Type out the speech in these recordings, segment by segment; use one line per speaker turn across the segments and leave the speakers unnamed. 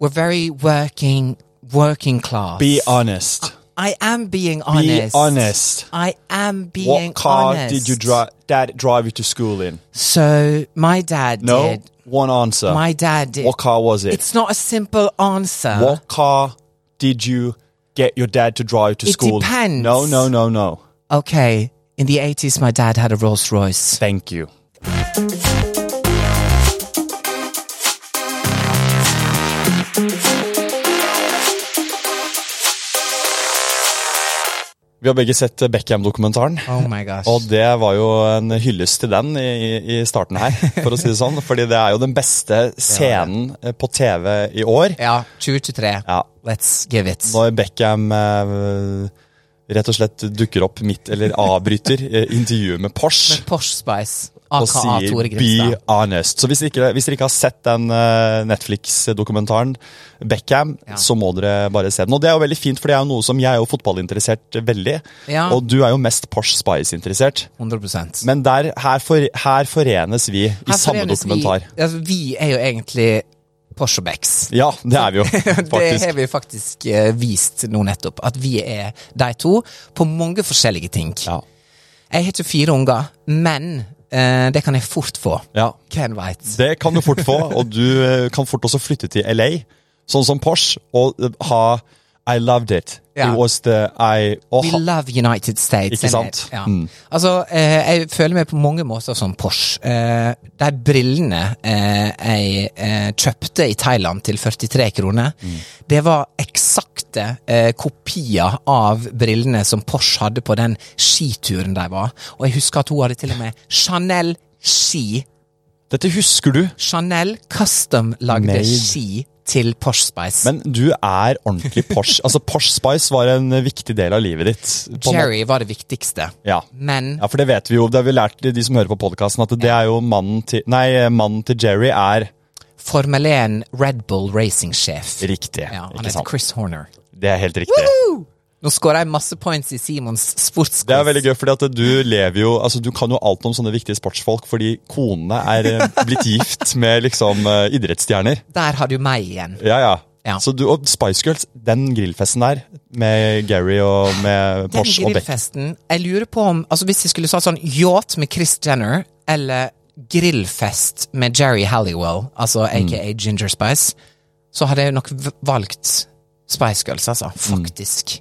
We're very working, working class.
Be honest.
I am being honest.
honest.
I am being
what car
honest.
did you dri- dad drive you to school in?
So my dad
No,
did.
one answer.
My dad did.
What car was it?
It's uh, not a simple answer.
What car did you get your dad to drive to
It
school?
depends.
No, no, no, no.
Okay. In the 80s, my dad had a Rolls Royce.
Thank you. Vi har begge sett Beckham-dokumentaren.
Oh my gosh.
Og det var jo en hyllest til den i, i starten her, for å si det sånn. Fordi det er jo den beste scenen eh, på TV i år.
Ja, 2023.
Ja.
Let's give it.
Når Beckham eh, rett og slett dukker opp midt, eller avbryter eh, intervjuet med Porsche.
Med Porsche Spice,
Og
aka
sier
Tore
'be
Grimstad.
honest'. Så hvis dere ikke, hvis dere ikke har sett den eh, Netflix-dokumentaren, Beckham, så må dere bare se den. Og det er jo veldig fint, for det er jo noe som jeg er jo fotballinteressert eh, veldig.
Ja.
Og du er jo mest Porsche Spice-interessert.
100
Men der, her, for, her forenes vi i
Her
samme
forenes
dokumentar.
Vi, altså, vi er jo egentlig Porsche Becks.
Ja, det er vi jo,
Det
faktisk.
har vi faktisk eh, vist nå nettopp, at vi er de to på mange forskjellige ting.
Ja.
Jeg har ikke fire unger, men eh, det kan jeg fort få.
ja.
Hvem veit?
Det kan du fort få, og du eh, kan fort også flytte til LA, sånn som Porsche, og eh, ha I loved it.
Ja.
It was the I og
We
ha,
love United States.
Ikke sant?
Ja.
Mm.
Altså, eh, jeg føler meg på mange måter som Porsche. Eh, de brillene eh, jeg eh, kjøpte i Thailand til 43 kroner,
Mm.
det var eksakte eh, kopier av brillene som Porsche hadde på den skituren de var. Og jeg husker at hun hadde til og med Chanel ski.
Dette husker du,
Chanel custom-lagde
Made.
ski til Porsche Spice.
men du er ordentlig Porsche. altså, Porsche Spice var en eh, viktig del av livet ditt. på en måte.
Jerry var det viktigste.
Ja.
Men
ja, for det vet vi jo. Det har vi lært de som hører på podkasten, at det er jo mannen til Nei, eh, mannen til Jerry er
Formel 1 Red Bull Racing-sjef.
riktig.
Ja, han
ikke
heter
sant?
Chris Horner.
Det er helt riktig.
Nå skåra jeg masse points i Simons sportsquiz.
Det er veldig gøy, fordi at du lever jo Altså, du kan jo alt om sånne viktige sportsfolk, fordi konene er eh, blitt gift med liksom eh, idrettsstjerner.
Der har du meg igjen.
Ja, ja.
Ja.
Så du, og Spice Girls, den grillfesten der med Gary og med
Den
Porsche og Beck.
grillfesten Jeg lurer på om altså Hvis jeg skulle sagt sånn yacht med Chris Jenner, eller grillfest med Jerry Halliwell, altså
Mm.
aka Ginger Spice, så hadde jeg nok v- valgt Spice Girls,
Mm.
altså. Faktisk.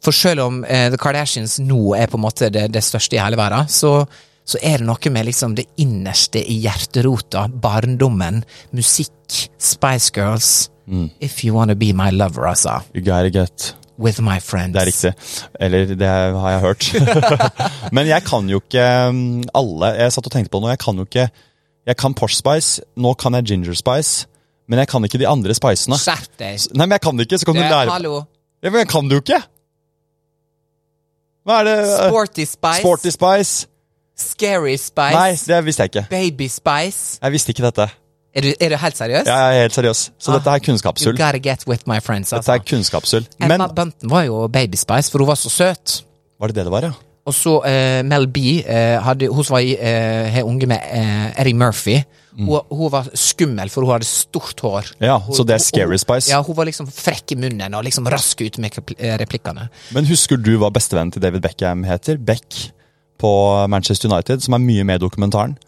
For selv om eh, The Kardashians nå er på en måte det, det største i hele verden, så, så er det noe med liksom det innerste i hjerterota, barndommen, musikk, Spice Girls.
Mm.
If you wanna be my lover, altså.
You gotta get
With my friends.
Det er riktig. Eller det har jeg hørt. Men jeg kan jo ikke um, alle Jeg satt og tenkte på det nå. Jeg kan jo ikke Jeg kan Porsche Spice, nå kan jeg Ginger Spice, men jeg kan ikke de andre spicene.
Skjerp deg!
Nei, men jeg kan det ikke, så kan
Du,
du lære
hallo.
Ja, men jeg kan det jo ikke! Hva er det?
Sporty Spice.
Eh, Sporty Spice?
Scary Spice.
Nei, det visste jeg ikke.
Baby Spice.
Jeg visste ikke dette.
Er du, er du helt seriøs?
Jeg er helt seriøs. Så dette er
Ah, You
kunnskapshull.
gotta get with my friends.
Dette
Altså.
er kunnskapshull. Men
Emma Bunton var jo Baby Spice, for hun var så søt.
var det det det var, ja?
Og så eh, Mel B, eh, hadde, hun som var i, eh, her unge med eh, Eddie Murphy, hun, hun var skummel, for hun hadde stort hår.
Ja, Mm. Så det er
Hun-
Scary
hun-
Spice.
Ja, Hun var liksom frekk i munnen og liksom rask ut med repl- eh, replikkene.
Men husker du hva bestevennen til David Beckham heter? Beck på Manchester United, som er mye med i dokumentaren.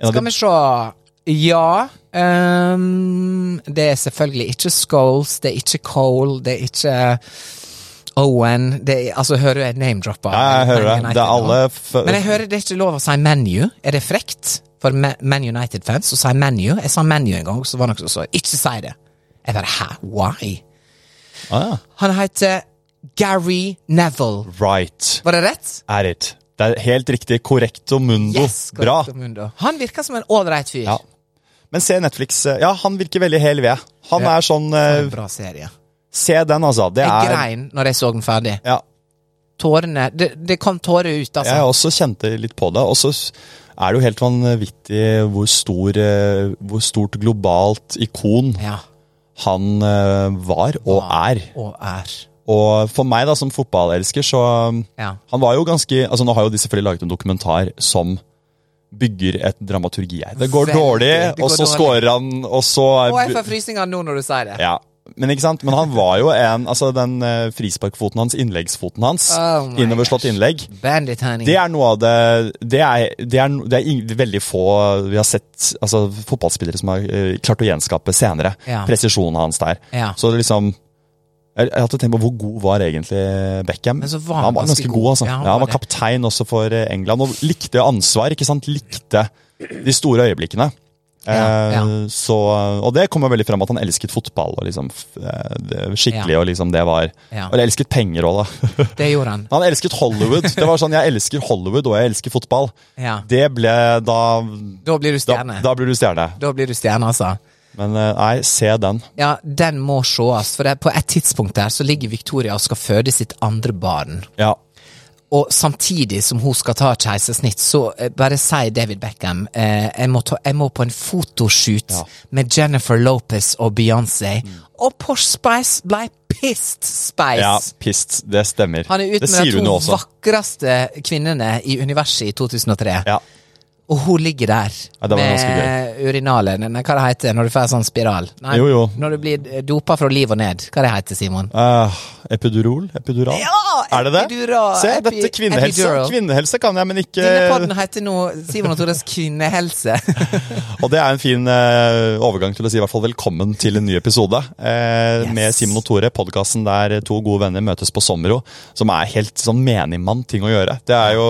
En
Skal
av de-
vi se Ja. ehm, det er selvfølgelig ikke Scholes, det er ikke Cole, det er ikke eh, Owen det er, Altså, hører du jeg name-dropper?
ja, jeg hører
Man
det.
United
Det er
nå?
alle f
Men jeg hører det er ikke lov å si menu. Er det frekt for Ma- Man United-fans å si menu? Jeg sa menu en gang, så var det noen som sa ikke si det. Jeg bare hæ? Why?
ah, ja.
Han heter Gary Neville.
Right.
Var det rett?
Er it. Det er helt riktig. Correcto mundo.
Yes,
Bra.
Correcto Mundo. Han virker som en ålreit fyr.
Ja. Men se Netflix. eh, Ja, han virker veldig hel ved. Han
Ja.
er sånn
En
eh,
bra serie.
Se den, altså. Det
Jeg
er
grein når jeg så den ferdig.
ja,
Tårene Det, det kom tårer ut, altså.
Jeg også kjente litt på det. Og så s- er det jo helt vanvittig hvor, stor, eh, hvor stort globalt ikon
Ja.
han eh, var og er.
Og er.
Og for meg da, som fotballelsker, så um,
Ja.
Han var jo ganske altså Nå har jo de selvfølgelig laget en dokumentar som bygger et dramaturgi her. Det går
Veldig,
dårlig,
det går
og så
dårlig.
scorer han, og så
Og jeg får frysninger nå når du sier det.
ja. Men ikke sant? Men han var jo en Altså, den eh, frisparkfoten hans, innleggsfoten hans,
Oh my
innoverslått
gosh.
innlegg,
Bandit honey.
det er noe av det Det er, det er, no- det er ing- veldig få vi har sett altså, fotballspillere som har eh, klart å gjenskape senere.
Ja.
Presisjonen hans der.
Ja.
Så det liksom jeg, jeg hadde tenkt på hvor god var egentlig Beckham.
Men så var han
var ganske god, altså. Ja, han, var
det.
kaptein også for eh, England, og likte ansvar, ikke sant? Likte de store øyeblikkene.
Ja,
Eh,
ja.
Så, og det kommer veldig frem at han elsket fotball, og liksom f- eh, det- skikkelig,
Ja.
og liksom det var
Ja.
Og jeg elsket penger òg, da.
Det gjorde han.
Han elsket Hollywood. Det var sånn, Jeg elsker Hollywood, og jeg elsker fotball.
Ja.
Det ble da
Da blir du
Da,
stjerne. Da,
da blir du stjerne.
blir du stjerne, altså.
Men eh, nei, se den.
Ja, den må sees, for det, på et tidspunkt der så ligger Victoria og skal føde sitt andre barn.
Ja.
Og samtidig som hun skal ta et keisersnitt, så eh, bare sier David Beckham eh, jeg, må ta, jeg må på en fotoshoot
Ja. Mm.
med Jennifer Lopez og Beyoncé. Og Posh Spice ble pissed Spice!
ja pissed. Det stemmer.
Han er ute
det
med de
sier
to
hun jo også.
vakreste kvinnene i universet i 2003.
Ja.
Og hun ligger der
Ja, det var ganske
med urinalen. Nei, hva det heter det når du får sånn spiral? Nei,
Jo, jo.
Når du blir eh, dopa fra liv og ned. Hva det heter Simon?
Eh, epidurol? Epidural?
Ja,
er det det?
epidural,
se,
epi-
dette kvinnehelse.
epidural.
Kvinnehelse kan jeg, men ikke
Denne podden heter nå Simon og Tores kvinnehelse.
Og det er en fin eh, overgang til å si i hvert fall velkommen til en ny episode eh,
Yes.
med Simon og Tore. Podkasten der to gode venner møtes på Sommero, som er helt sånn menigmann-ting å gjøre. Det er jo,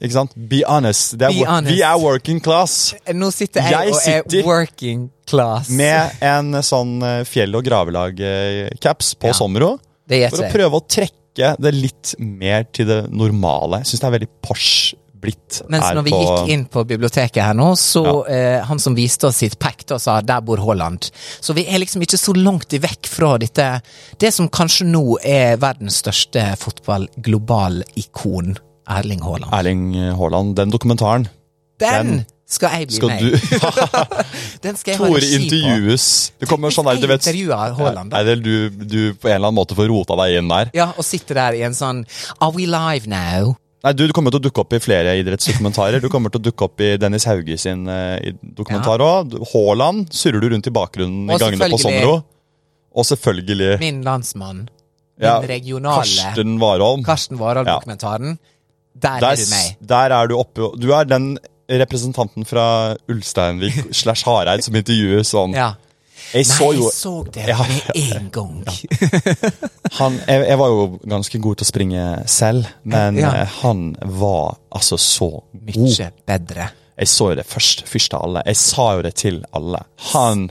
ikke sant? Be honest. Det er,
Be
wo-
honest.
Vi er working class.
Nå sitter jeg,
Jeg
og er
sitter-
working class.
Med en sånn eh, fjell- og gravelag-caps på
Ja.
Sommero.
det
For
gjetter
å
jeg.
prøve å trekke det litt mer til det normale. Jeg syns det er veldig Porsche blitt
Mens når vi gikk inn på biblioteket her nå, så eh, han som viste oss sitt pact og sa 'der bor Haaland'. Så vi er liksom ikke så langt i vekk fra dette Det som kanskje nå er verdens største fotball-global-ikon, Erling Haaland.
Erling Haaland, den dokumentaren
Den,
den
skal jeg bli
skal
med i.
du
Den skal jeg ha
Tore
regi på.
intervjues. Det kommer sånn der, du vet
Intervjuer Haaland, da.
Nei, det er du, du på en eller annen måte får rota deg inn der.
Ja, og sitter der i en sånn 'Are we live now?'
Nei, du, du kommer til å dukke opp i flere idrettsdokumentarer. Du kommer til å dukke opp i Dennis Hauge sin eh, i- dokumentar òg. Haaland surrer du rundt i bakgrunnen i
Og
gangene på
selvfølgelig-
Sommero. Og selvfølgelig
Min landsmann. Min
ja,
regionale. Karsten,
Karsten Warholm.
Warhold-dokumentaren. Der,
Der,
er du
s-
meg.
der er du oppe og- Du er den representanten fra Ulsteinvik slash Hareid som intervjuer sånn.
Ja.
Jeg
Nei,
så jo
jeg så det
Ja.
med en gang.
han, jeg, jeg var jo ganske god til å springe selv, men
Ja.
eh, han var altså så god.
Mykje bedre.
Jeg så jo det først, først av alle. Jeg sa jo det til alle. Han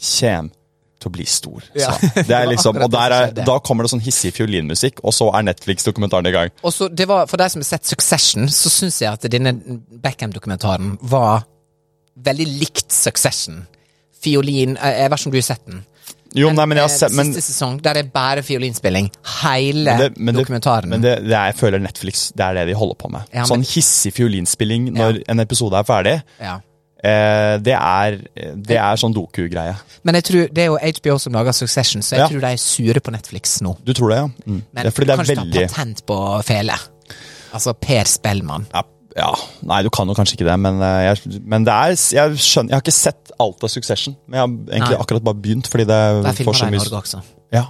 kjem til å bli stor.
Ja.
sa han. Det er liksom, og
Det var
der
akkurat det som
er,
skjedde.
Da kommer det sånn hissig fiolinmusikk, og så er Netflix-dokumentaren i gang.
Og så det var, For de som har sett Succession, så syns jeg at denne Beckham-dokumentaren var veldig likt Succession. Fiolin eh, Jeg vet ikke om du har sett den.
Jo, nei, men jeg har
eh,
sett, men,
Siste sesong, der er bare fiolinspilling. Hele
men det, men det,
dokumentaren.
men det, det er, jeg føler Netflix det er det de holder på med.
Ja, men-
sånn hissig fiolinspilling når en episode er ferdig,
ja.
eh, det, er, det er sånn doku-greie.
Men jeg tror, det er jo HBO som lager Succession, så jeg
Ja.
tror de er sure på Netflix nå.
Du tror det, ja? Mm.
Men
Det er fordi det er
kanskje
veldig
ta patent på fele. Altså Per Spellmann.
ja, ja, Nei, du kan jo kanskje ikke det, men, eh, jeg, men det er, jeg skjønner Jeg har ikke sett alt av Succession, men jeg har egentlig
Nei.
akkurat bare begynt. Fordi det
Der
får
filmer
så
de i
mye
Norge også.
ja,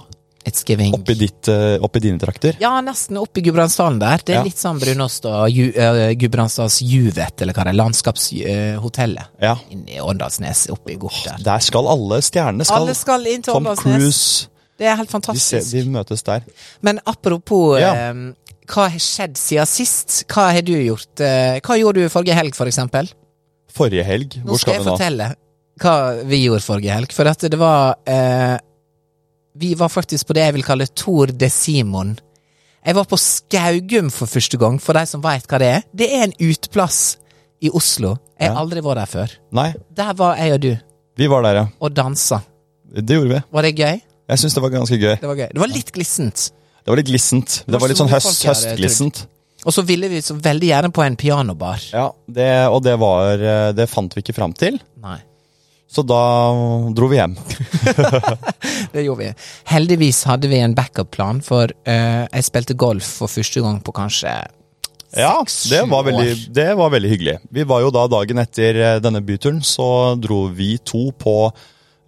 It's giving.
oppi, ditt, eh, oppi dine trakter.
Ja, nesten oppe i Gudbrandsdalen der. Det er
Ja.
litt sånn Brunost og Ju, eh, Gudbrandsdals Juvet, eller hva det er. Landskapshotellet.
Ja.
Inne i Åndalsnes, oppe i Gort der.
Der skal alle stjernene skal.
Alle skal inn til
Tom
Åndalsnes.
Cruise.
Det er helt
De, ser,
fantastisk.
de møtes der.
Men apropos
Ja.
eh, hva har skjedd siden sist? Hva har du gjort? eh, Hva gjorde du forrige helg, for eksempel?
Forrige helg.
Nå
Hvor
skal
skal
jeg
vi nå?
fortelle hva vi gjorde forrige helg. For at det var eh, Vi var faktisk på det jeg vil kalle Tour de Simon. Jeg var på Skaugum for første gang, for de som veit hva det er. Det er en uteplass i Oslo. Jeg har
Ja.
aldri vært der før.
Nei,
Der var jeg og du.
Vi var der, ja.
og dansa.
Det gjorde vi.
Var det gøy?
Jeg syns det var ganske gøy.
Det var gøy. Det var litt glissent.
Det var litt glissent.
var
Det var litt sånn
store
høst,
folk her, jeg tror.
høstglissent.
Og så ville vi så veldig gjerne på en pianobar.
Ja, det, og det var eh, Det fant vi ikke fram til,
Nei,
så da dro vi hjem.
det gjorde vi. Heldigvis hadde vi en backup-plan, for eh, jeg spilte golf for første gang på kanskje
Ja,
Seks,
det
sju
var, veldig,
år.
det var veldig hyggelig. Vi var jo da dagen etter eh, denne byturen, så dro vi to på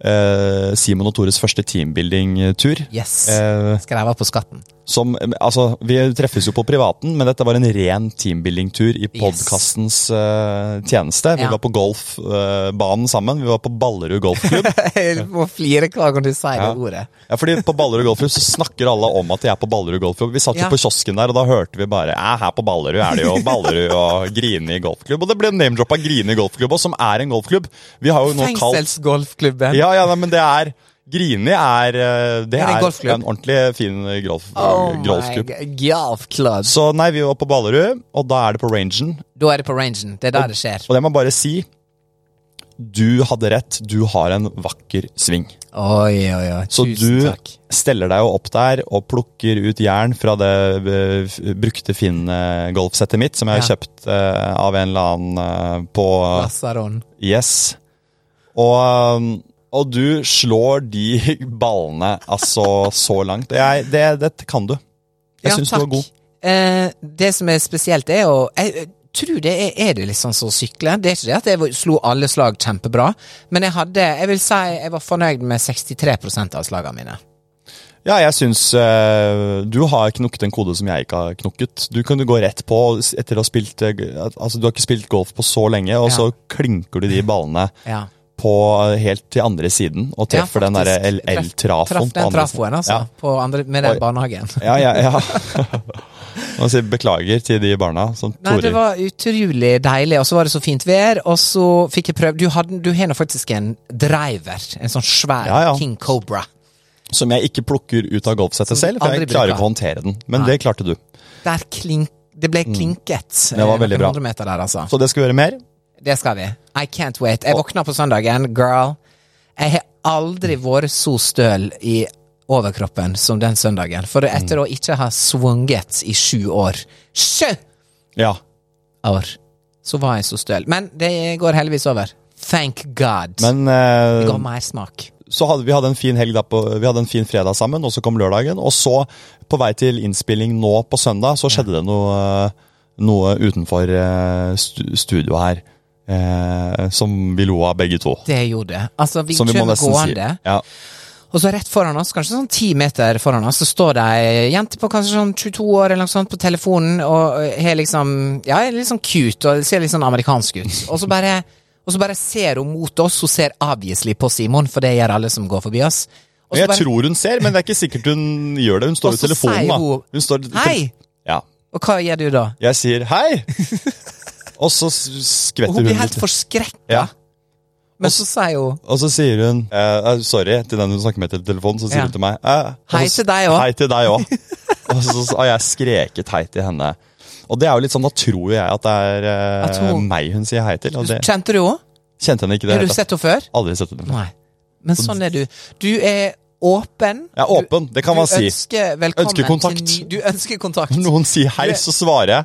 eh, Simon og Tores første teambuilding-tur.
Yes.
Eh,
Skal jeg være på Skatten?
som, eh, altså, vi treffes jo på privaten, men dette var en ren teambuilding-tur i podkastens eh, tjeneste. Vi
Ja.
var på golfbanen sammen, vi var på Ballerud golfklubb.
Jeg må flire hver gang du sier
Ja.
det ordet.
Ja, fordi På Ballerud golfklubb så snakker alle om at de er på Ballerud golfklubb. Vi satt jo
Ja.
på kiosken der, og da hørte vi bare «Æ, her på Ballerud er det jo Ballerud og Grini golfklubb. Og det ble name-droppa Grini golfklubb, og som er en golfklubb. Vi har jo nå kalt
Fengselsgolfklubben.
Ja, ja, nei, men det er Grini er eh,
Er
Det
det en
er
golfklubb?
en ordentlig fin golf,
Oh my
golfklubb.
god, golfklubb.
Så nei, vi var på Ballerud, og da er det på rangen.
Da er det på rangen. Det er der det skjer.
Og det må jeg bare si. Du hadde rett. Du har en vakker sving.
Oi, oi, oi.
Så
Tusen
du
takk.
steller deg jo opp der og plukker ut jern fra det eh, f- brukte Finn-golfsettet mitt, som jeg har
Ja.
kjøpt eh, av en eller annen eh, på
Lasaron.
Yes. Og, um, og du slår de ballene altså så langt. Jeg, det, dette kan du. Jeg
Ja,
syns du
takk.
var god.
Eh, det som er spesielt, er jo Jeg eh, tror det er, er det litt sånn som å sykle. Det er ikke det at jeg slo alle slag kjempebra, men jeg hadde Jeg vil si jeg var fornøyd med 63 av slagene mine.
Ja, jeg syns eh, Du har knukket en kode som jeg ikke har knukket. Du kunne gå rett på s- etter å ha spilt eh, g- Altså, du har ikke spilt golf på så lenge, og
Ja.
så klinker du de ballene
Ja.
på eh, helt til andre siden og treffer den derre
faktisk. Treff-
LL-trafoen.
Traff den trafoen, altså. På andre, med den
Oi.
barnehagen.
Ja, ja, ja. Må si beklager til de barna som
Nei, det
torer.
var utrolig deilig, og så var det så fint vær, og så fikk jeg prøvd Du, hadde- du har nå faktisk en driver, en sånn svær
Ja, ja.
King Cobra.
Som jeg ikke plukker ut av golfsettet
Som
selv, for
andre
jeg klarer
bruker.
ikke å håndtere den. Men
Nei.
det klarte du.
Der klink, det ble klinket.
Mm. Det var
eh,
veldig
noen
bra.
hundre meter der, altså.
Så det skal vi gjøre mer.
Det skal vi. I can't wait. Jeg våkna på søndagen, girl. Jeg har aldri vært så støl i overkroppen som den søndagen. For etter
Mm.
å ikke ha svunget i sju år Sju
Ja.
år! Så var jeg så støl. Men det går heldigvis over. Thank God.
Men
det
eh,
ga mersmak.
så hadde vi hadde en fin helg da på, vi hadde en fin fredag sammen, og så kom lørdagen. Og så, på vei til innspilling nå på søndag, så skjedde det noe, noe utenfor eh, stu- studioet her. Eh, som vi lo av begge to.
Det gjorde jeg. Altså, vi
Som vi må
kjører
nesten si.
gående,
Ja.
og så rett foran oss, kanskje sånn ti meter foran oss, så står det ei jente på kanskje sånn 22 år eller noe sånt på telefonen, og øh, har liksom Ja, er litt sånn cute, og ser litt sånn amerikansk ut. Og så bare og så bare ser hun mot oss, hun ser obviously på Simon, for det gjør alle som går forbi oss. Og så
Jeg
bare-
tror hun ser, men det er ikke sikkert hun gjør det. Hun står
Og
i
så
telefonen,
sier
da.
hun,
Hun står,
Hei!
Ja.
Og hva gjør du da?
Jeg sier hei! Og så s-
Og
skvetter
hun
hun,
blir helt
litt.
forskrekka,
Ja.
men så sier hun
Og så sier hun eh, eh, sorry til den hun snakker med til telefonen. Så sier
Ja.
hun til meg eh, og
Hei
så-
til deg også.
Hei til deg òg. og så så har jeg skreket hei til henne. Og det er jo litt sånn, da tror jo jeg at det er eh,
At hun-
meg hun sier hei til. Og det,
Kjente du henne?
kjente henne ikke det.
Har du
hele tatt.
sett henne før?
Aldri sett henne.
Nei. Men sånn er du. Du er åpen.
Jeg er
Du-
åpen, det kan man
Du
si.
ønsker velkommen
Ønsker kontakt.
til ny- Du ønsker kontakt.
Når noen sier hei, så svarer jeg.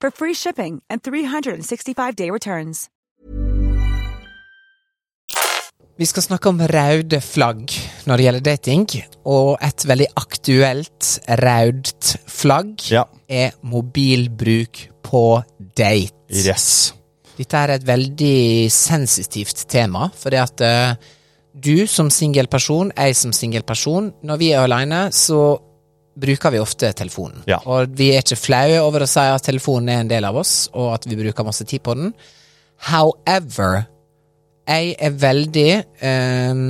for free shipping and 365-day returns.
Vi skal snakke om røde flagg når det gjelder dating. Og et veldig aktuelt rødt flagg
Ja.
er mobilbruk på date.
Yes.
Dette er et veldig sensitivt tema, fordi at eh, du som singel person, jeg som singel person, når vi er alene, så bruker vi ofte telefonen.
Ja.
Og vi er ikke flaue over å si at telefonen er en del av oss, og at vi bruker masse tid på den. However, jeg er veldig eh,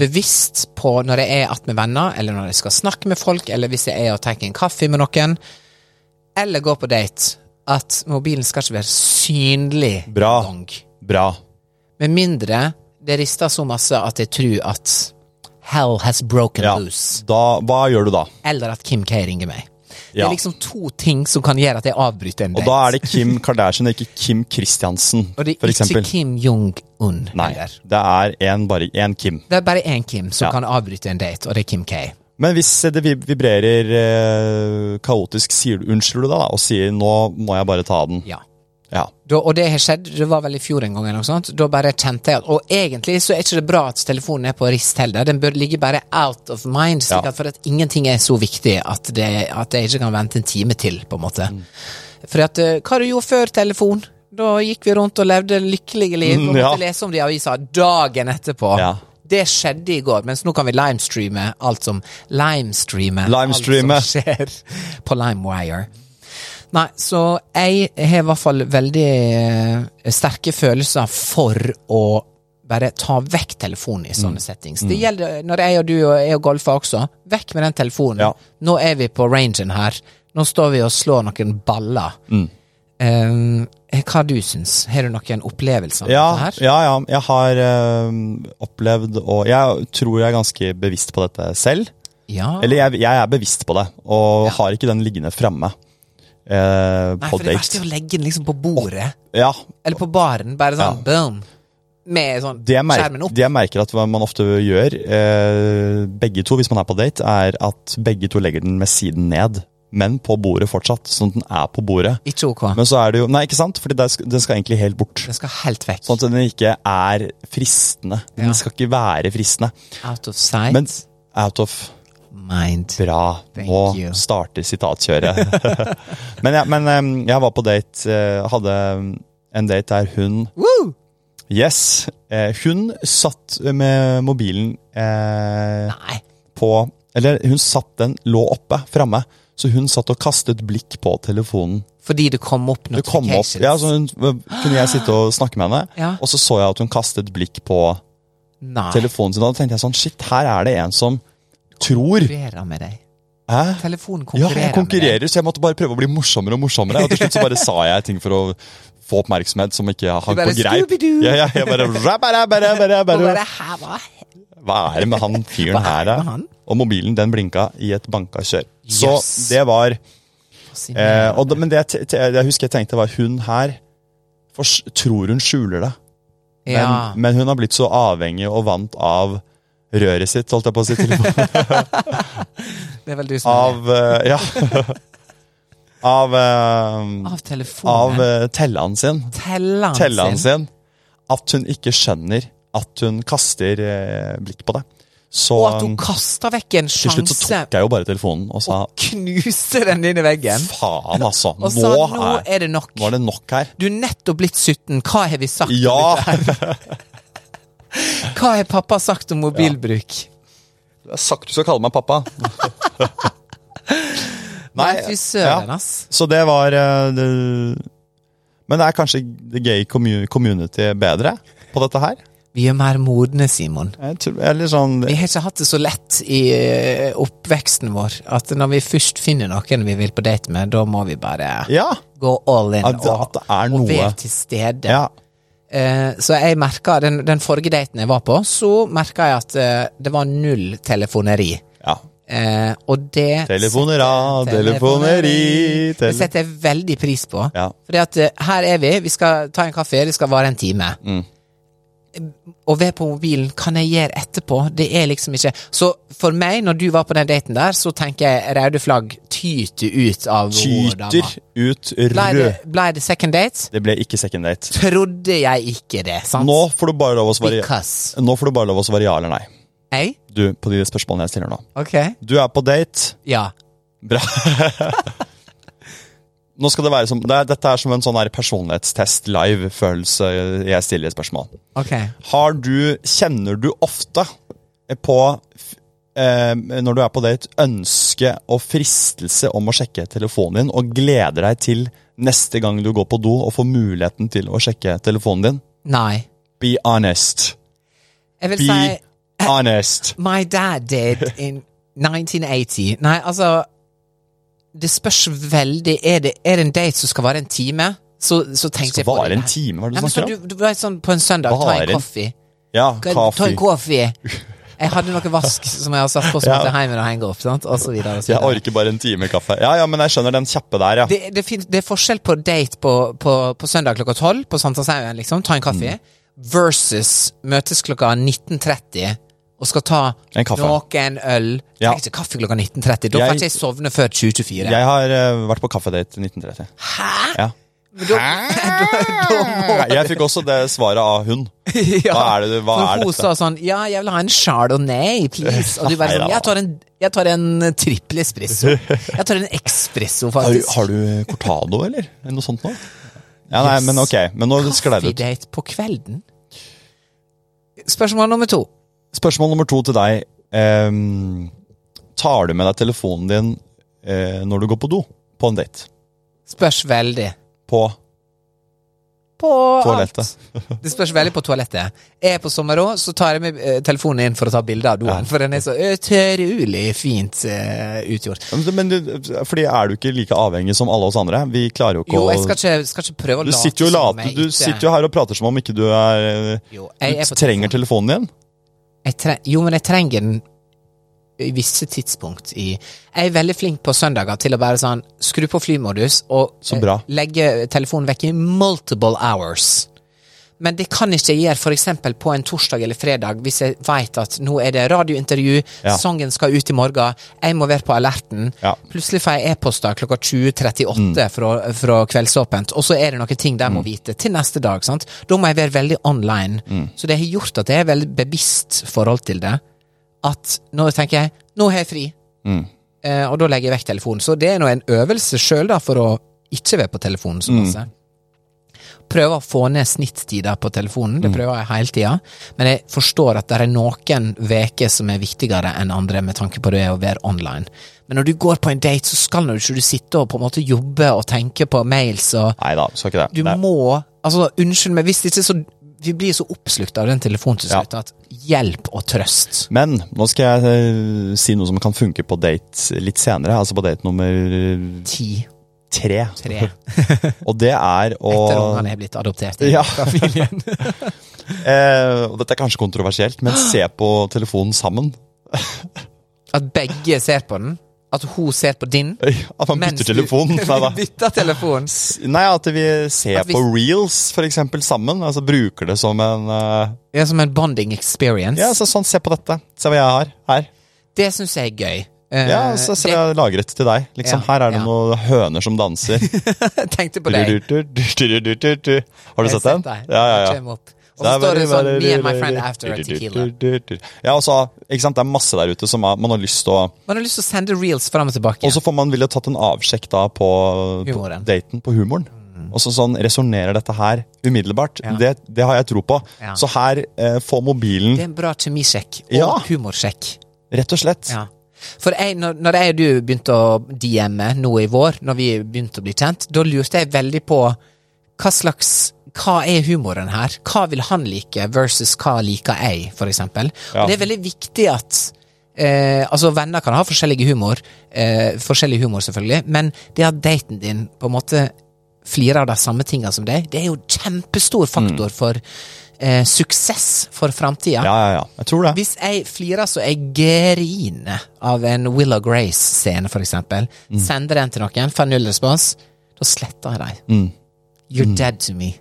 bevisst på når jeg er att med venner, eller når jeg skal snakke med folk, eller hvis jeg er og tar en kaffe med noen, eller går på date, at mobilen skal ikke være synlig
Bra.
lang.
Bra.
Med mindre det rister så masse at jeg tror at hell has broken
Ja.
loose,
Da, hva gjør du da?
eller at Kim K ringer meg. Det
Ja.
er liksom to ting som kan gjøre at jeg avbryter en
Og
date.
da er det Kim Kardashian og ikke Kim Kristiansen,
Og det er
for
ikke
eksempel.
Kim Jong-un
Nei,
heller.
det er en, bare én Kim.
Det er bare én Kim som
Ja.
kan avbryte en date, og det er Kim K.
Men hvis det vib- vibrerer eh, kaotisk, sier du unnskylder du da, da, og sier 'nå må jeg bare ta den'?
Ja.
Ja.
Da, og det har skjedd, det var vel i fjor en gang, eller noe sånt. Da bare kjente jeg at Og egentlig så er ikke det bra at telefonen er på rist heller. Den bør ligge bare out of mind, slik
Ja.
at for at ingenting er så viktig at det, at jeg ikke kan vente en time til, på en måte.
Mm.
For at eh, Hva du gjorde før telefon? Da gikk vi rundt og levde lykkelige liv og
Mm, ja.
måtte lese om det i avisa dagen etterpå.
Ja.
Det skjedde i går, mens nå kan vi limestreame alt som Limestreame
Limestreame.
alt som skjer på LimeWire. Nei, så jeg har i hvert fall veldig eh, sterke følelser for å bare ta vekk telefonen i
Mm.
sånne settings. Det gjelder når jeg og du og jeg og golfer også. Vekk med den telefonen.
Ja.
Nå er vi på rangen her. Nå står vi og slår noen baller.
Mm.
Eh, hva du syns? Har du noen opplevelser av dette
Ja,
her?
ja, ja. Jeg har eh, opplevd og Jeg tror jeg er ganske bevisst på dette selv.
Ja.
Eller jeg, jeg er bevisst på det, og har ikke den liggende framme. Eh,
Nei,
på
for det verste
date.
er å legge den liksom på bordet.
Ja,
Eller på baren, bare sånn boom. Med sånn
det jeg, mer
skjermen opp.
det jeg merker at hva man ofte gjør, eh, begge to hvis man er på date, er at begge to legger den med siden ned, men på bordet fortsatt. Sånn at den er på bordet.
Ikke ok.
Men så er det jo Nei, ikke sant? Fordi det skal, den skal egentlig helt bort.
Den skal helt vekk.
Sånn at den ikke er fristende. Den
Ja.
skal ikke være fristende.
Out of sight,
Men out of
mind.
Bra.
Thank
Nå
you.
starter sitatkjøret. men jeg, men em, jeg var på date, eh, hadde em, en date der hun
Woo!
Yes! eh, Hun satt med mobilen eh,
Nei.
på Eller hun satt den lå oppe, framme. Så hun satt og kastet blikk på telefonen.
Fordi det kom opp
Det kom opp,
notifications.
ja, altså, så hun, øh, kunne jeg sitte og snakke med henne,
Ja.
og så så jeg at hun kastet blikk på
Nei.
telefonen sin. Og da tenkte jeg sånn Shit, her er det en som tror
Konkurrerer med deg.
Hæ?
Telefonen
Ja,
konkurrerer
jeg
med deg.
konkurrerer, så jeg måtte bare prøve å bli morsommere og morsommere. Og til slutt så bare sa jeg ting for å få oppmerksomhet som ikke jeg hang
Du bare,
på greip.
Scooby-Doo!
Ja, ja, jeg bare, rabba, rabba, rabba,
Og
rabba.
bare, her var jeg.
Hva er det med han fyren
Hva er
her,
det med
da?
han?
Og mobilen den blinka i et banka kjør. Så
Yes.
det var eh,
Fascinerende.
og, da- Men det jeg, te- te- jeg husker jeg tenkte, var hun her fors- tror hun skjuler det. Men,
ja.
men hun har blitt så avhengig og vant av røret sitt, holdt jeg på å si. Telefonen.
det er vel du som er det.
Av eh, Ja. Av eh,
Av
av
telefonen.
uh, telleren sin,
telleren,
telleren
sin.
sin, at hun ikke skjønner at hun kaster eh, blikk på det. Så eh,
Og at hun kasta vekk en
til slutt så
sjanse
tok jeg jo bare telefonen og sa
og knuste den inn i veggen.
faen, altså.
Og
nå,
sa nå
er,
er det nok.
nå er det nok her.
Du er nettopp blitt 17, hva har vi sagt?
Ja!
Hva har pappa sagt om mobilbruk?
Jeg har sagt du skal kalle meg pappa.
Nei, fy søren, ass.
Så det var eh, det, Men er kanskje the gay commu- community bedre på dette her?
Vi er mer modne, Simon.
Jeg tror, eller sånn
Vi har ikke hatt det så lett i eh, oppveksten vår at når vi først finner noen vi vil på date med, da må vi bare
Ja!
gå all in
At-
og,
at det er
og
noe.
være til stede.
ja.
Eh, så jeg merka den, den forrige daten jeg var på, så merka jeg at eh, det var null telefoneri.
ja.
Eh, og det
Telefonera, telefoneri, tele-
Det setter jeg veldig pris på.
Ja. Mm.
Fordi at eh, her er vi, vi skal ta en kafé, det skal vare en time. og ved på mobilen kan jeg gjøre etterpå. Det er liksom ikke Så for meg, når du var på den daten der, så tenker jeg røde flagg tyter ut av hun
Tyter ut
Blei
rød.
det, blei det second date?
Det ble ikke second date.
Trodde jeg ikke det, sant?
Nå får du bare lov å svare,
Because.
Nå får du bare lov å svare ja eller nei.
Hey?
Du, på de spørsmålene jeg stiller nå.
Ok.
Du er på date.
Ja.
Bra. Nå skal det være som, det er, Dette er som en sånn her personlighetstest live-følelse jeg stiller spørsmål.
Ok.
Har du, Kjenner du ofte på f- eh, Når du er på date, ønske og fristelse om å sjekke telefonen din, og gleder deg til neste gang du går på do og får muligheten til å sjekke telefonen din?
Nei.
Be honest.
Jeg vil
Be
si
honest.
My dad did in 1980. Nei, altså Det spørs veldig. Er det, er det en date som skal vare en time, så, så tenkte
Skal
jeg på
vare
det
en
der.
time, hva er
Nei,
det du
men
snakker
sånn,
om?
du, du vet sånn på en søndag, ta
Vare
en
en-
kaffe.
Ja,
Ta en
kaffe.
kaffe. Jeg hadde noe vask som jeg har satt på som
Ja.
måtte hjem og henge opp, sant? og så videre. Og så
Jeg
videre.
orker bare en time kaffe. Ja, ja, men jeg skjønner den kjappe der, ja.
Det, det, finnes, det er forskjell på date på, på, på søndag klokka tolv på Sankthanshaugen, liksom, ta en kaffe,
Mm.
versus møtes klokka 19.30 og skal ta
En kaffe.
noen øl.
Ja.
Tenk ikke kaffe klokka 19.30. Da
Jeg-
får ikke jeg sovne før 2024.
Jeg har eh, vært på kaffedate i 1930.
Hæ?!
Ja.
Da, da, da må
Jeg fikk også det svaret av hun.
ja.
Hva er det du- hva
For
er
hun
dette?
sa sånn Ja, jeg vil ha en chardonnay, please. Og du bare
Nei,
sånn
da.
Jeg tar en, jeg tar en trippel espresso. Jeg tar en espresso,
Har, du-
faktisk.
har du cortado, eller? Er det Noe sånt nå? Ja, nei, men ok. Men nå sklei det ut.
Kaffedate på kvelden? Spørsmål nummer to.
Spørsmål nummer to til deg. Ehm, tar du med deg telefonen din eh, når du går på do? På en date?
Spørs veldig.
På
På
toalettet?
alt. Det spørs veldig på toalettet. Er jeg på sommerå, så tar jeg med eh, telefonen inn for å ta bilde av doen. For den er så utrolig fint eh, utgjort.
Ja, Men, men du, fordi er du ikke like avhengig som alle oss andre? Vi klarer jo ikke
Jo,
å
jeg skal ikke, skal ikke prøve å
Du
late
sitter jo,
som
late,
jeg
du
ikke-
sitter jo her og prater som om ikke du er eh,
Jo, jeg er
Du
på
trenger telefonen din.
jeg tre- Jo, men jeg trenger den i visse tidspunkt i Jeg er veldig flink på søndager til å bare sånn skru på flymodus og
Så bra.
eh, legge telefonen vekk i multiple hours. Men det kan ikke jeg gjøre for eksempel på en torsdag eller fredag hvis jeg veit at nå er det radiointervju,
Ja.
sangen skal ut i morgen, jeg må være på alerten.
Ja. Mm.
Plutselig får jeg e-poster klokka 20.38 fra, fra Kveldsåpent, og så er det noen ting de må vite til neste dag. sant? Da må jeg være veldig online.
Mm.
Så det har gjort at jeg er veldig bevisst forhold til det. At nå tenker jeg nå har jeg fri,
Mm.
eh, og da legger jeg vekk telefonen. Så det er nå en øvelse sjøl for å ikke være på telefonen
Mm.
så masse prøver å få ned snittida på telefonen,
Mm.
det prøver jeg hele tida. Men jeg forstår at det er noen uker som er viktigere enn andre med tanke på det å være online. Men når du går på en date, så skal nå ikke du sitte og på en måte jobbe og tenke på mails og
Nei da, skal ikke det.
Du
Nei.
må Altså, unnskyld meg, hvis ikke så Vi blir så oppslukt av den telefonen til slutt at hjelp og trøst.
Men nå skal jeg eh, si noe som kan funke på date litt senere. Altså på date nummer
Ti.
tre.
Tre.
Og det er å
Etter ungene er blitt adoptert. i
Ja.
familien.
eh, og Dette er kanskje kontroversielt, men se på telefonen sammen.
At begge ser på den. At hun ser på din.
Øy, At man bytter telefon. Nei da.
Bytter telefon.
Nei, at vi ser
At vi-
på reels for eksempel sammen. Altså Bruker det som en eh,
Det er som en bonding experience.
Ja, så sånn, se på dette. Se hva jeg har her.
Det syns jeg er gøy. Eh,
Ja, så ser jeg lagret til deg. Liksom,
Ja,
her er det
ja.
noen høner som danser.
jeg tenkte på deg.
Du-du-du-du-du-du-du. Har du
Jeg
sett den?
deg.
Ja, ja,
Jeg
ja.
kommer opp. Og så står det sånn 'Me and my friend after a tequila'.
Ja, og så, ikke sant, Det er masse der ute som er, man har lyst til å
Man har lyst til å sende reels fram og tilbake.
Og så får man ville tatt en avsjekk da på, på
Humoren. Mm.
daten, på humoren. Og så sånn resonnerer dette her umiddelbart. Det, det har jeg tro på.
Ja.
Så her eh, får
det
mobilen
er en bra kjemisjekk og
Ja.
humorsjekk.
rett og slett
Ja. For jeg, når, når jeg og du begynte å DM-e nå i vår, når vi begynte å bli kjent, da lurte jeg veldig på hva slags hva er humoren her? Hva vil han like, versus hva liker jeg, for eksempel?
Ja.
Og det er veldig viktig at eh, Altså, venner kan ha forskjellig humor, eh, forskjellig humor selvfølgelig, men det at daten din på en måte flirer av de samme tinga som deg, det er jo kjempestor faktor for eh, suksess for framtida.
Ja, ja, ja. Jeg tror det.
Hvis jeg flirer så jeg griner av en Willow Grace-scene, for eksempel,
Mm. Mm.
sender den til noen, får null respons, da sletter jeg dem. You're dead to me.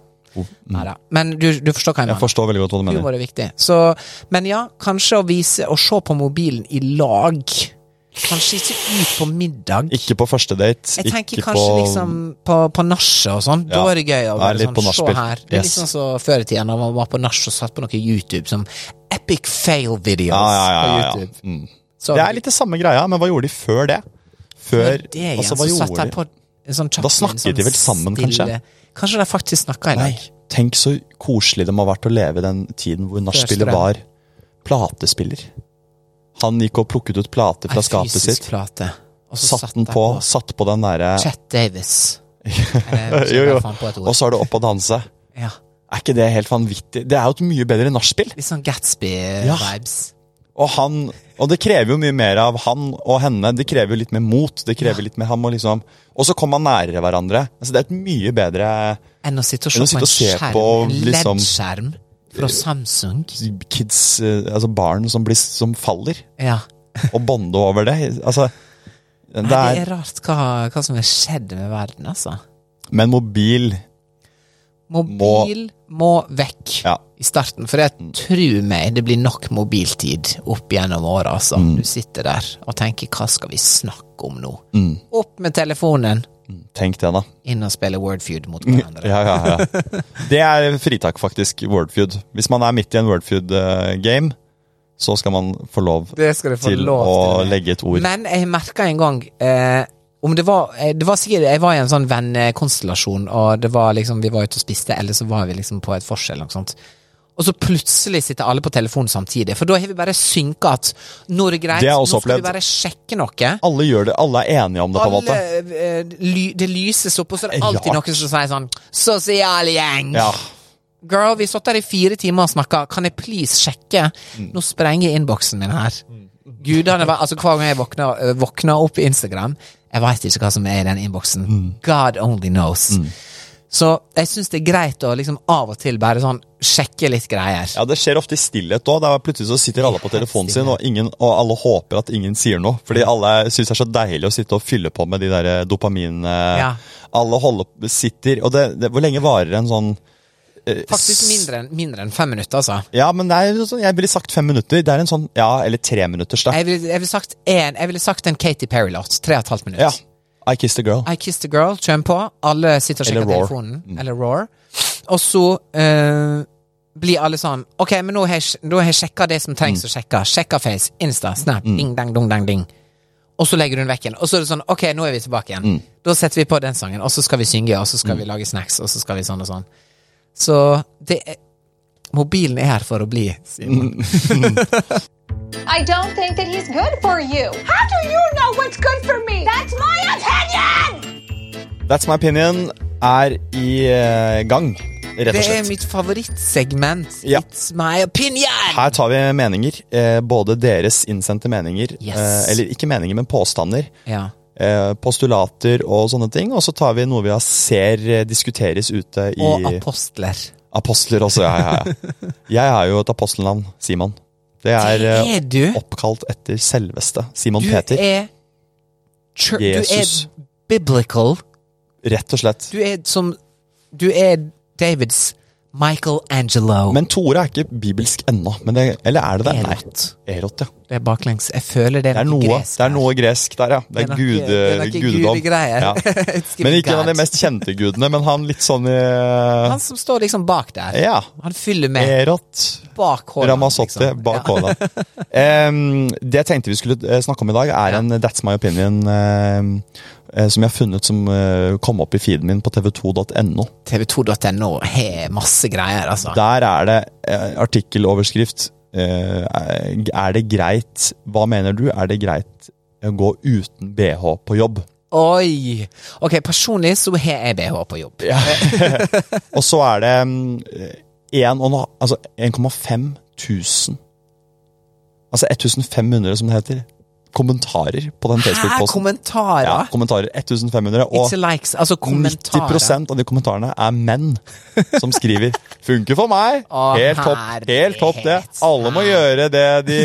Neida. Men du, du forstår hva jeg
Oh, Jeg
mener.
forstår veldig godt hva du mener.
Humor er viktig. Så, men ja, kanskje å vise Å se på mobilen i lag. Kanskje ikke ut på middag.
Ikke på første date.
Jeg tenker
ikke
kanskje
på
liksom på, på nachspiel og sånn. Da
Ja.
er det gøy å
Ja,
være
litt på
sånn, se
nachspiel.
her. Det er litt
Yes.
sånn som før i tida da man var på nachspiel og satt på noe YouTube. Sånn epic fail videos
ja, ja, ja, ja,
på
ja.
YouTube.
Mm.
Så,
Det er litt det samme greia, men hva gjorde de før det? Før
det igjen,
altså, hva
så satt
gjorde
jeg
de?
på en sånn chat
Da
i en
snakket de vel sammen, kanskje?
Kanskje de faktisk snakka i
Nei,
lag.
tenk så koselig de har vært å leve i den tiden hvor nachspielet
strøm.
var platespiller. Han gikk og plukket ut plater fra
En
skapet
fysisk
sitt.
plate. Og så
Satt den
jeg
på, satt på den derre
Chet Davis.
Jo, jo. Og
Og
så er det opp og danse.
Ja.
Er ikke det helt vanvittig? Det er jo et mye bedre nachspiel.
Litt sånn Gatsby-vibes.
Og, han, og det krever jo mye mer av han og henne. Det krever jo litt mer mot. Det krever litt mer han må liksom Og så kommer man nærere hverandre. Altså, det er et mye bedre
Enn å sitte og
Enn
se på en
å sitte og se
skjerm,
på,
en
liksom-
LED-skjerm fra Samsung.
kids, eh, altså barn som, blir, som faller,
Ja.
og bonde over det. Altså,
Nei,
det
det
er,
er rart hva, hva som har skjedd med verden, altså.
men mobil
Mobil må vekk
Ja. Mm.
i starten, for jeg tror meg det blir nok mobiltid opp gjennom åra, altså.
Mm.
Du sitter der og tenker 'hva skal vi snakke om nå'?
Mm.
Opp med telefonen,
Tenk det, da.
inn og spille Wordfeud mot hverandre.
Ja, ja, ja. Det er fritak, faktisk. Wordfeud. Hvis man er midt i en Wordfeud-game, så skal man få lov
Det skal du få
til
lov
å
til.
legge et ord.
Men jeg merka en gang eh, om det var, eh, det var sikkert Jeg var i en sånn vennekonstellasjon, og det var liksom, vi var ute og spiste, eller så var vi liksom på et vors eller noe sånt. Og så plutselig sitter alle på telefonen samtidig, for da har vi bare synka at nå er det greit,
Det har jeg
nå skal
også opplevd.
vi bare sjekke noe.
Alle gjør det, alle er enige om det, på en
Alle,
måte.
eh, ly, det lyses opp, og så er det alltid
Rart.
noen som sier sånn Sosial gjeng!
Ja.
Girl, vi satt der i fire timer og snakka. Kan jeg please sjekke?
Mm.
Nå sprenger innboksen min her. Gudene var, altså Hver gang jeg våkna, øh, våkna opp på Instagram Jeg veit ikke hva som er i den innboksen.
Mm.
God only knows. Så jeg syns det er greit å liksom av og til bare sånn sjekke litt greier.
ja, det skjer ofte i stillhet òg. Plutselig så sitter alle på telefonen sin, og, ingen, og alle håper at ingen sier noe. Fordi
Mm.
alle syns det er så deilig å sitte og fylle på med de der dopamin... eh,
Ja.
Alle holder, sitter Og det, det, hvor lenge varer en sånn eh,
Faktisk
s-
mindre enn, mindre enn fem minutter, altså.
Ja, men det er, jo sånn- jeg ville sagt fem minutter. Det er en sånn Ja, eller tre minutters, da.
Jeg ville, jeg ville sagt en, jeg ville sagt en Katy Perry-låt. Tre og et halvt minutt.
Ja. I kissed a girl.
I Kissed a Girl, kjøm på. Alle sitter og
Eller
sjekker
Roar. Mm.
telefonen. Eller Roar. Og så eh, blir alle sånn Ok, men nå har jeg, nå har jeg sjekka det som trengs
Mm.
å sjekke. Sjekka Face, Insta, Snap, ding, dang, dong, dang, ding. Og så legger hun vekk igjen. Og så er det sånn Ok, nå er vi tilbake igjen.
Mm.
Da setter vi på den sangen, og så skal vi synge, og så skal vi lage snacks, og så skal vi sånn og sånn. Så det er Mobilen er her for å bli.
Mm.
Simon.
I don't think that he's good for you. How do you know what's good for me? That's my opinion!
That's my opinion er i eh, gang, rett og
Det
slett.
er mitt favorittsegment.
Ja.
It's my opinion!
Her tar vi meninger. Eh, både deres innsendte meninger,
Yes.
eh, eller ikke meninger, men påstander.
Ja.
Eh, postulater og sånne ting. Og så tar vi noe vi har ser eh, diskuteres ute i
Og apostler.
Apostler også, ja, ja, ja. Jeg har jo et apostelnavn. Simon. Det er, eh,
er du.
oppkalt etter selveste Simon
Du
Peter.
er chur-
Jesus.
Du er biblical.
Rett og slett.
Du er som Du er Davids Michelangelo.
Men Tore er ikke bibelsk ennå. Men det, eller er det det?
Erot.
Nei. Erot, ja.
Det er baklengs. Jeg føler det er,
Det er,
noe
noe,
gresk
det er
her.
noe gresk der, ja. Det
Det er
er,
noe-
gude,
det er noe
gudedom.
gudegreier.
Ja.
It's giving
Men ikke en av de
God.
mest kjente gudene, men han litt sånn i
Han som står liksom bak der.
Ja.
Han fyller med liksom.
Erot
bak håret.
Ramazzotti bak Haaland. Em, det jeg tenkte vi skulle eh, snakke om i dag, er en That's My Opinion em, eh, som jeg har funnet som eh, kom opp i feeden min på tv2.no.
TV2.no har masse greier, altså.
Der er det eh, artikkeloverskrift eh, Er det greit Hva mener du? Er det greit å gå uten BH på jobb?
Oi! Ok, personlig så har jeg BH på jobb.
Og så er det mm, en og en halv- altså 1,5 tusen Altså 1500, som det heter. Kommentarer på den
Hæ,
Facebook-posten.
kommentarer?
Ja, kommentarer. 1500. Og
Ikke likes, altså kommentarer.
90 av de kommentarene er menn som skriver 'funker for meg'.
Å,
Helt topp, helt topp det. Alle må gjøre det de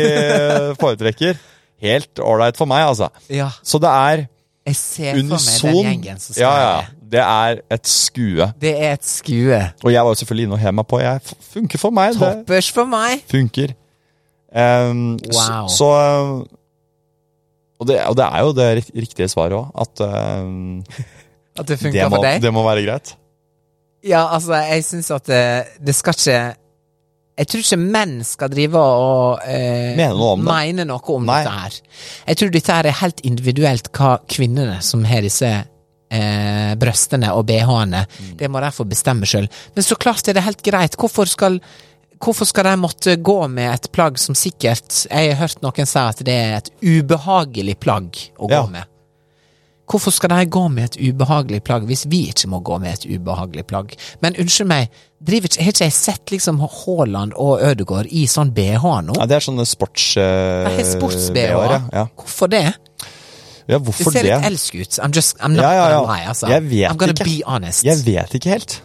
foretrekker. Helt ålreit for meg, altså.
Ja.
Så det er
Jeg ser for meg den
unison
gjengen som
ja,
skal
ja.
det.
Det er et skue.
Det er et skue.
Og jeg var jo selvfølgelig inne og hev meg på. Jeg f- funker for meg. Det
Toppers for meg.
funker. Ehm,
Wow.
Så, så ehm, og, det, og det er jo det rik- riktige svaret òg. At ehm,
At det
det,
funker
må,
for deg.
det må være greit.
Ja, altså, jeg syns at det, det skal ikke Jeg tror ikke menn skal drive og eh,
Mene noe om det.
mene noe om
Nei.
dette her. Jeg tror dette her er helt individuelt hva kvinnene som har disse eh, brøstene og BH-ene
Mm.
Det må de få bestemme sjøl. Men så klart er det helt greit. Hvorfor skal Hvorfor skal de måtte gå med et plagg som sikkert Jeg har hørt noen si at det er et ubehagelig plagg å gå
Ja.
med. Hvorfor skal de gå med et ubehagelig plagg hvis vi ikke må gå med et ubehagelig plagg? Men unnskyld meg, driver ikke, har ikke jeg sett liksom Haaland og Ødegaard i sånn BH nå?
Ja, det er sånne sports... Uh,
Jeg har sports-BH.
Ja. Ja.
Hvorfor det?
ja,
Det
hvorfor
ser
det?
litt elsk ut. I'm just, I'm not
Ja, ja, ja.
gonna lie, altså.
Jeg vet
I'm gonna
ikke.
be honest.
Jeg vet ikke helt.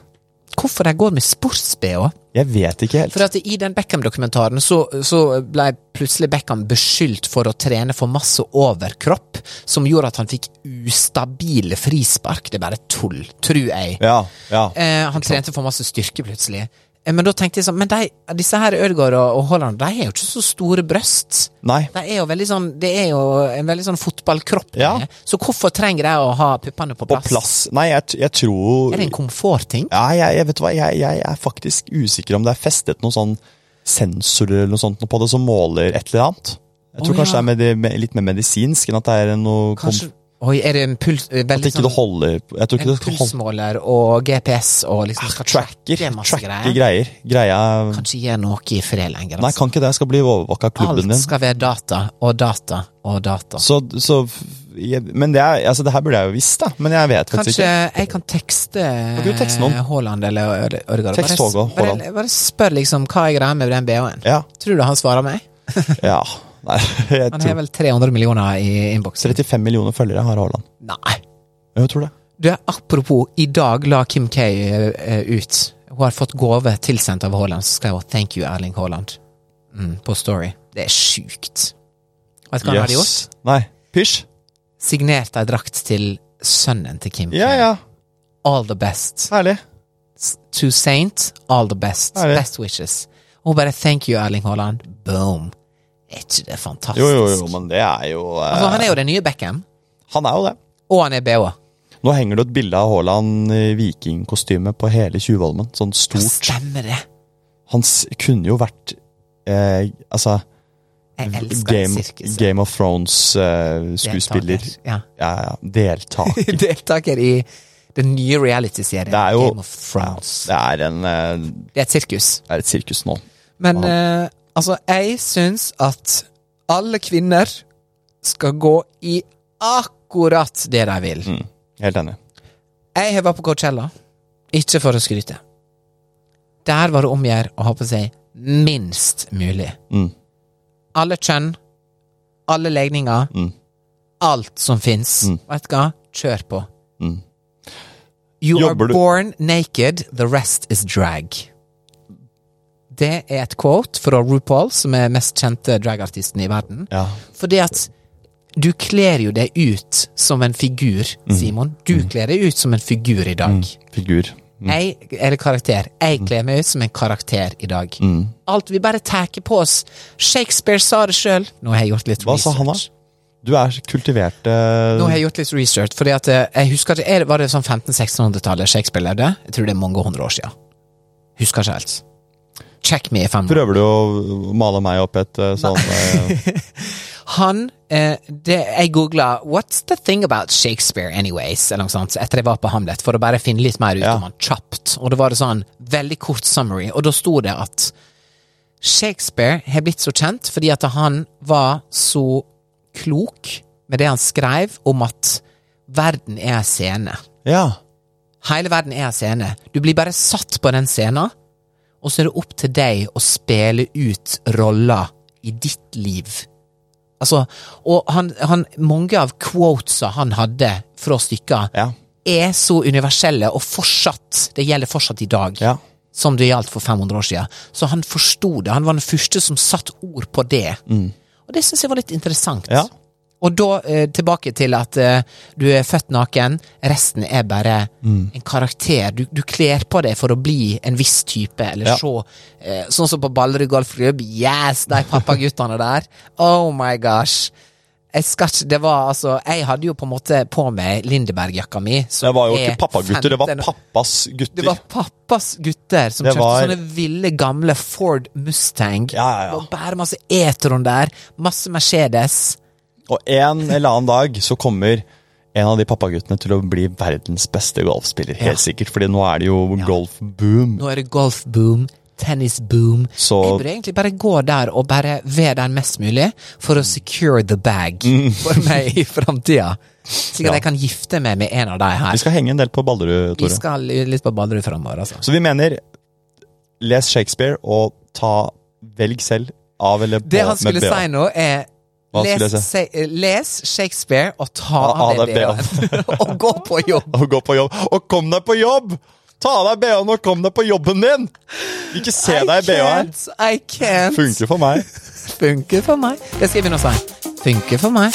Hvorfor de går med sports-BH?
Jeg vet ikke helt.
For at i den Beckham-dokumentaren så, så ble plutselig Beckham beskyldt for å trene for masse overkropp, som gjorde at han fikk ustabile frispark. Det er bare tull, tror jeg.
Ja, ja.
Eh, han trente for masse styrke plutselig. Eh, men da tenkte jeg sånn Men de, disse her Ødegaard og, og Haaland, de har jo ikke så store brøst.
Nei.
De er jo veldig sånn Det er jo en veldig sånn fotballkropp. de
Ja.
er. Så hvorfor trenger de å ha puppene på
På
plass?
plass. Nei, jeg, t- jeg tror
Er det en komfortting?
Ja, jeg, jeg vet du hva, jeg, jeg er faktisk usikker om det er festet noen sånn sensorer eller noe sånt på det som måler et eller annet. Jeg tror
Å,
kanskje det
ja.
er med det, med, litt mer medisinsk enn at det er noe kom,
Kanskje Oi, er det en puls eh,
At
veldig
ikke det holder Jeg tror ikke
En
det holder
pulsmåler og GPS og liksom skal
Tracker,
tracke masse
tracker
greier.
greier. Greia
Kan ikke gjøre noe i fred lenger.
Nei,
Altså.
kan ikke det. Jeg skal bli overvåka av klubben
Alt
din.
skal være data og data og data.
Så, så jeg, Men det er Altså, det her burde jeg jo visst, da. Men jeg vet faktisk
Kanskje
ikke.
jeg kan tekste eh,
du tekste noen?
Haaland eller Øde- Ødegaard?
Tekst
Bare s-
Haaland.
Bare, bare spør liksom hva er greia med den BH-en.
Ja.
Tror du han svarer meg?
ja. Nei, jeg
Han har
tror
vel 300 millioner i innboksen.
35 millioner følgere har Haaland.
Nei.
Jeg tror det.
Du, apropos, i dag la Kim K eh, eh, ut. Hun har fått gave tilsendt av Haaland, så skrev hun 'Thank you, Erling Haaland' mm, på Story. Det er sjukt. Vet du hva han hadde gjort?
Yes. Nei. Pysj.
Signert ei drakt til sønnen til Kim K.
Ja, ja.
All the best.
Herlig.
To Saint, all the best.
Herlig.
Best wishes. Og hun bare 'Thank you, Erling Haaland'. Boom. Er ikke det fantastisk?
Jo, jo, jo, men det er jo eh,
Altså, han er jo den nye Beckham,
Han er jo det.
og han er BH.
Nå henger det et bilde av Haaland i vikingkostyme på hele Tjuvholmen. Sånn
Ja,
stort.
Stemmer det.
Han s- kunne jo vært eh, Altså
Jeg elsker det
Game,
sirkuset.
Game of Thrones-skuespiller.
Deltaker, Ja.
ja, ja. Deltaker.
deltaker i den nye reality-serien
Det er jo
Game of Thrones.
Ja, det er, en, eh,
Det er et sirkus.
det er et sirkus nå.
Men eh, altså, jeg syns at alle kvinner skal gå i akkurat det de vil.
Mm. Helt enig.
Jeg har vært på Coachella, ikke for å skryte. Der var det om å gjøre å ha på seg minst mulig.
Mm.
Alle kjønn, alle legninger,
Mm.
alt som fins.
Mm.
Vet du hva? Kjør på.
Mm.
You
Jobber
are
du-
born naked, the rest is drag. Det er et quote fra RuPaul, som er mest kjente dragartisten i verden.
Ja.
Fordi at du kler jo deg ut som en figur, Simon. Du kler deg ut som en figur i dag.
Figur. Mm. Mm.
Jeg, eller karakter. Jeg kler meg ut som en karakter i dag.
Mm.
Alt vi bare tar på oss. Shakespeare sa det sjøl. Nå har jeg gjort litt
Hva sa
research.
han, da? Du er kultivert eh,
Nå har jeg gjort litt research, fordi at eh, jeg husker ikke, er det- var det sånn 1500-1600-tallet Shakespeare levde? Jeg tror det er mange hundre år siden. Husker ikke helt. Check me if I'm wrong.
Prøver du å male meg opp et eh, sånn eh,
Han, eh, det, jeg googlet 'What's the thing about Shakespeare anyways?' eller noe sånt, etter jeg var på Hamlet, for å bare finne litt mer ut
Ja.
om han kjapt. Og det var det sånn veldig kort summary, og da sto det at Shakespeare har blitt så kjent fordi at han var så klok med det han skrev om at verden er en scene.
Ja.
Hele verden er en scene. Du blir bare satt på den scenen, og så er det opp til deg å spille ut roller i ditt liv. Altså, og han, han, mange av quotesa han hadde fra stykker,
Ja.
er så universelle, og fortsatt, det gjelder fortsatt i dag,
Ja.
som det gjaldt for 500 år siden. Så han forsto det. Han var den første som satt ord på det. Og det syns jeg var litt interessant.
Mm. Ja.
Og da eh, tilbake til at eh, du er født naken, resten er bare
Mm.
en karakter. Du, du kler på deg for å bli en viss type, eller
Ja.
se eh, Sånn som på Ballerud golfklubb. Yes, de pappaguttene der. Oh my gosh. Jeg skal ikke, det var altså Jeg hadde jo på en måte på meg Lindeberg-jakka mi. som
Det var jo
er
ikke pappagutter, det var
15
pappas
det
gutter.
var pappas gutter som
Det
kjørte
var-
sånne ville, gamle Ford Mustang.
Ja, ja, ja.
Og bærer masse Etron der. Masse Mercedes.
Og en eller annen dag så kommer en av de pappaguttene til å bli verdens beste golfspiller. Helt sikkert, fordi nå er det jo golfboom.
Nå er det golfboom, tennisboom.
Så-
Jeg burde egentlig bare gå der og bare være der mest mulig
Mm.
for å secure the bag for meg i framtida. Slik at jeg kan gifte meg med en av de
Vi
her.
skal henge en del på Ballerud,
Vi
Tore.
skal litt på Ballerud framover, altså.
Så vi mener les Shakespeare og ta velg selv av eller på
Det han
med
skulle
BH.
si nå, er
Hva
les,
skulle jeg si?
se- les Shakespeare og ta
Ta
av
av
deg
deg
BH-en.
altså.
Og gå på jobb!
Og gå på jobb. Og kom deg på jobb! Ta av deg BH-en og kom deg på jobben din! Ikke se deg i BH-en.
can't, I can't.
Funker for meg.
Funker for meg. Det skal jeg begynne å si. Funker for meg.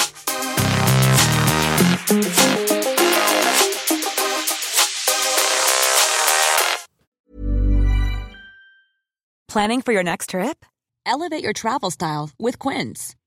Planning for your next trip? Elevate your travel style with Quince.